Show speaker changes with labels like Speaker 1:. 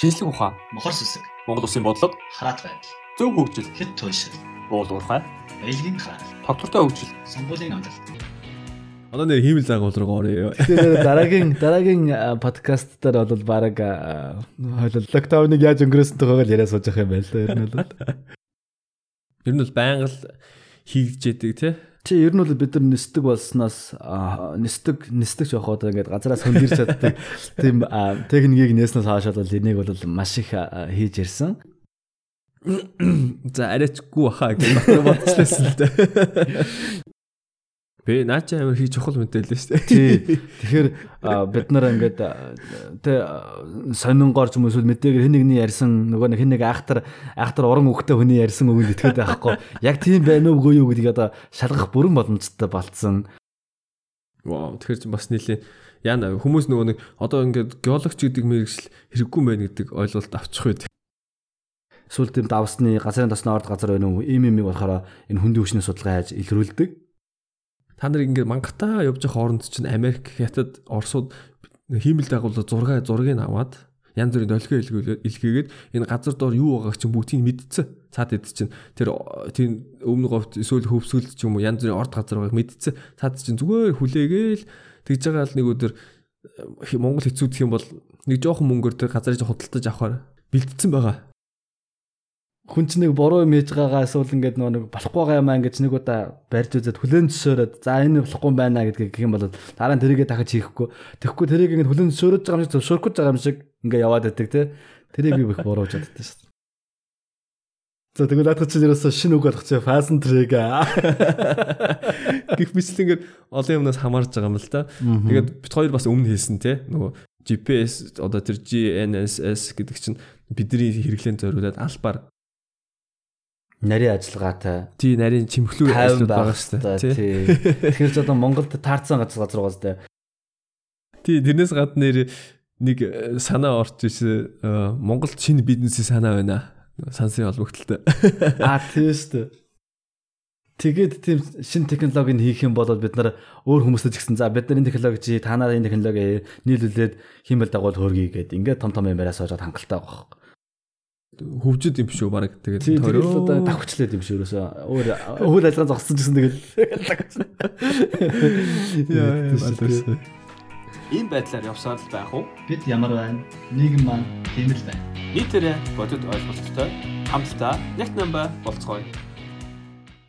Speaker 1: шинжлэх ухаан,
Speaker 2: мохор сүсэг,
Speaker 1: Монгол Улсын бодлого,
Speaker 2: хараат байдал,
Speaker 1: зөв хөгжил,
Speaker 2: хэд туйшил,
Speaker 1: уул уурхай,
Speaker 2: байлгийн хаал,
Speaker 1: тогтвортой хөгжил,
Speaker 2: сонгуулийн амлалт.
Speaker 3: Одоо нэр хиймэл зангуул руу орё.
Speaker 4: Тэгээ нэр дараагийн дараагийн а, подкаст дээр бол баг хойлол локдауныг яаж өнгөрөөсөн тухайг л яриа сууж явах юм байна л да ер нь бол.
Speaker 3: Ер нь бол байнга л хийгдэж яадаг те.
Speaker 4: Чи ер нь бол бид нар нэстэг болсноос а, нэстэг нэстэг жоох одоо ингээд газараас хөндөрч чаддаг тийм а, техникийг нээснээс хаашаад бол энийг бол маш их а, хийж ирсэн.
Speaker 3: За арайчгүй баха гэж доктор бодчихлээсэн л дээ. Би наача амар хий чухал мэдээлэл шүү дээ.
Speaker 4: Тий. Тэгэхээр а, бид нар ингээд а, тэ а, сонингоор ч юм уу эсвэл мэдээгээр хэн нэгний ярьсан нөгөө нэг хэн нэг айхтар айхтар уран өгтэй хүний ярьсан үгэнд итгээд байхгүй. Яг тийм байна уу үгүй юу гэдгийг одоо шалгах бүрэн боломжтой болцсон.
Speaker 3: Вау, тэгэхээр чи бас нилийн яна хүмүүс нөгөө нэг одоо ингээд геологч гэдэг мэрэгжил хэрэггүй мэн гэдэг ойлголт авчих үед
Speaker 4: Эсвэл тийм давсны газрын тосны орд газар байна уу? Ийм юм ийм болохоор энэ хөндөө хүчний судалгаа хийж илрүүлдэг.
Speaker 3: та нар ингээд мангатаа явж явах хооронд чинь Америк, Хятад, Оросууд хиймэл дагуулаа зурга зургийг аваад янз бүрийн долгио илгүүлээд илгээгээд энэ газар дор юу байгааг чинь бүгдийг мэдсэн. Цаад эд чинь тэр о, тийм өмнө говьт эсвэл хөвсгөл ч юм уу янз бүрийн орд газар байгааг мэдсэн. Цаад чинь зүгээр хүлээгээл тэгж байгаа л нэг өдөр э, Монгол хэцүүдх юм бол нэг жоохон мөнгөөр тэр газарыг жоо худалдаж авахаар бэлдсэн байгаа.
Speaker 4: Хүн ч нэг буруу юм хийж байгаагаа эсвэл ингээд нөгөө нэг болохгүй байгаа юм аа ингэж нэг удаа барьж үзээд хүлэн зөвшөөрөөд за энэ болохгүй юм байна гэдгийг гэх юм бол дараа нь тэрийгээ дахиж хийхгүй. Тэгэхгүй тэрийг ингээд хүлэн зөвшөөрөж байгаа юм шиг зөвшөөрөхгүй байгаа юм шиг ингээд яваад байдаг те. Тэрийг би их буруу жаддаг шүү дээ. За тэгвэл наадах чинь ерөөсө шинэ үг болох чи фазн трек аа.
Speaker 3: Гэх мэтлэн ингээд олон юмнаас хамаарж байгаа юм л да. Тэгээд бит хоёр бас өмнө хэлсэн те нөгөө GPS одоо тэр GNSS гэдэг чинь бидний хэрэглэн зориулаад албаар
Speaker 4: нарийн ажиллагаатай
Speaker 3: тий нарийн чимхлүү
Speaker 4: тайван
Speaker 3: ажлууд
Speaker 4: байгаа
Speaker 3: байгаа
Speaker 4: шүү
Speaker 3: шүү
Speaker 4: дээ.
Speaker 3: дээ.
Speaker 4: тий. Тэгэхээр ч одоо Монголд таарсан газар газар байгаа шүү дээ.
Speaker 3: Тий тэрнээс гадна нэр нэг э, санаа орж ирсэн э, Монголд шинэ бизнесийн санаа байна. Сансрын холбогдлолтой.
Speaker 4: Аа тий шүү дээ. Тэгээд тийм шин технологийн хийх юм бол бид нар өөр хүмүүстэй ч гэсэн за бид нар энэ технологи чи та нараа энэ технологи нийлүүлээд хиймэл дагуул хөргий гэдэг ингээд том том юмараа соожоод хангалттай байгаа хөөх.
Speaker 3: Хөвжөд юм биш үү баг. Тэгээд
Speaker 4: Тий тэгээд л одоо
Speaker 3: тойроо.
Speaker 4: давхчлаад юм шиг өрөөсөө өөр өөр ажиллагаа зогссон гэсэн тэгэл
Speaker 3: Яа, яа,
Speaker 4: Мэддэггүй шүү дээ.
Speaker 3: мэддэггүй.
Speaker 1: ийм байдлаар явсаар л байх уу?
Speaker 2: Бид ямар байна? Нийгэм маань тийм л байна.
Speaker 1: Нийтээрээ бодит ойлголттой хамтдаа нэг намба болцгоё.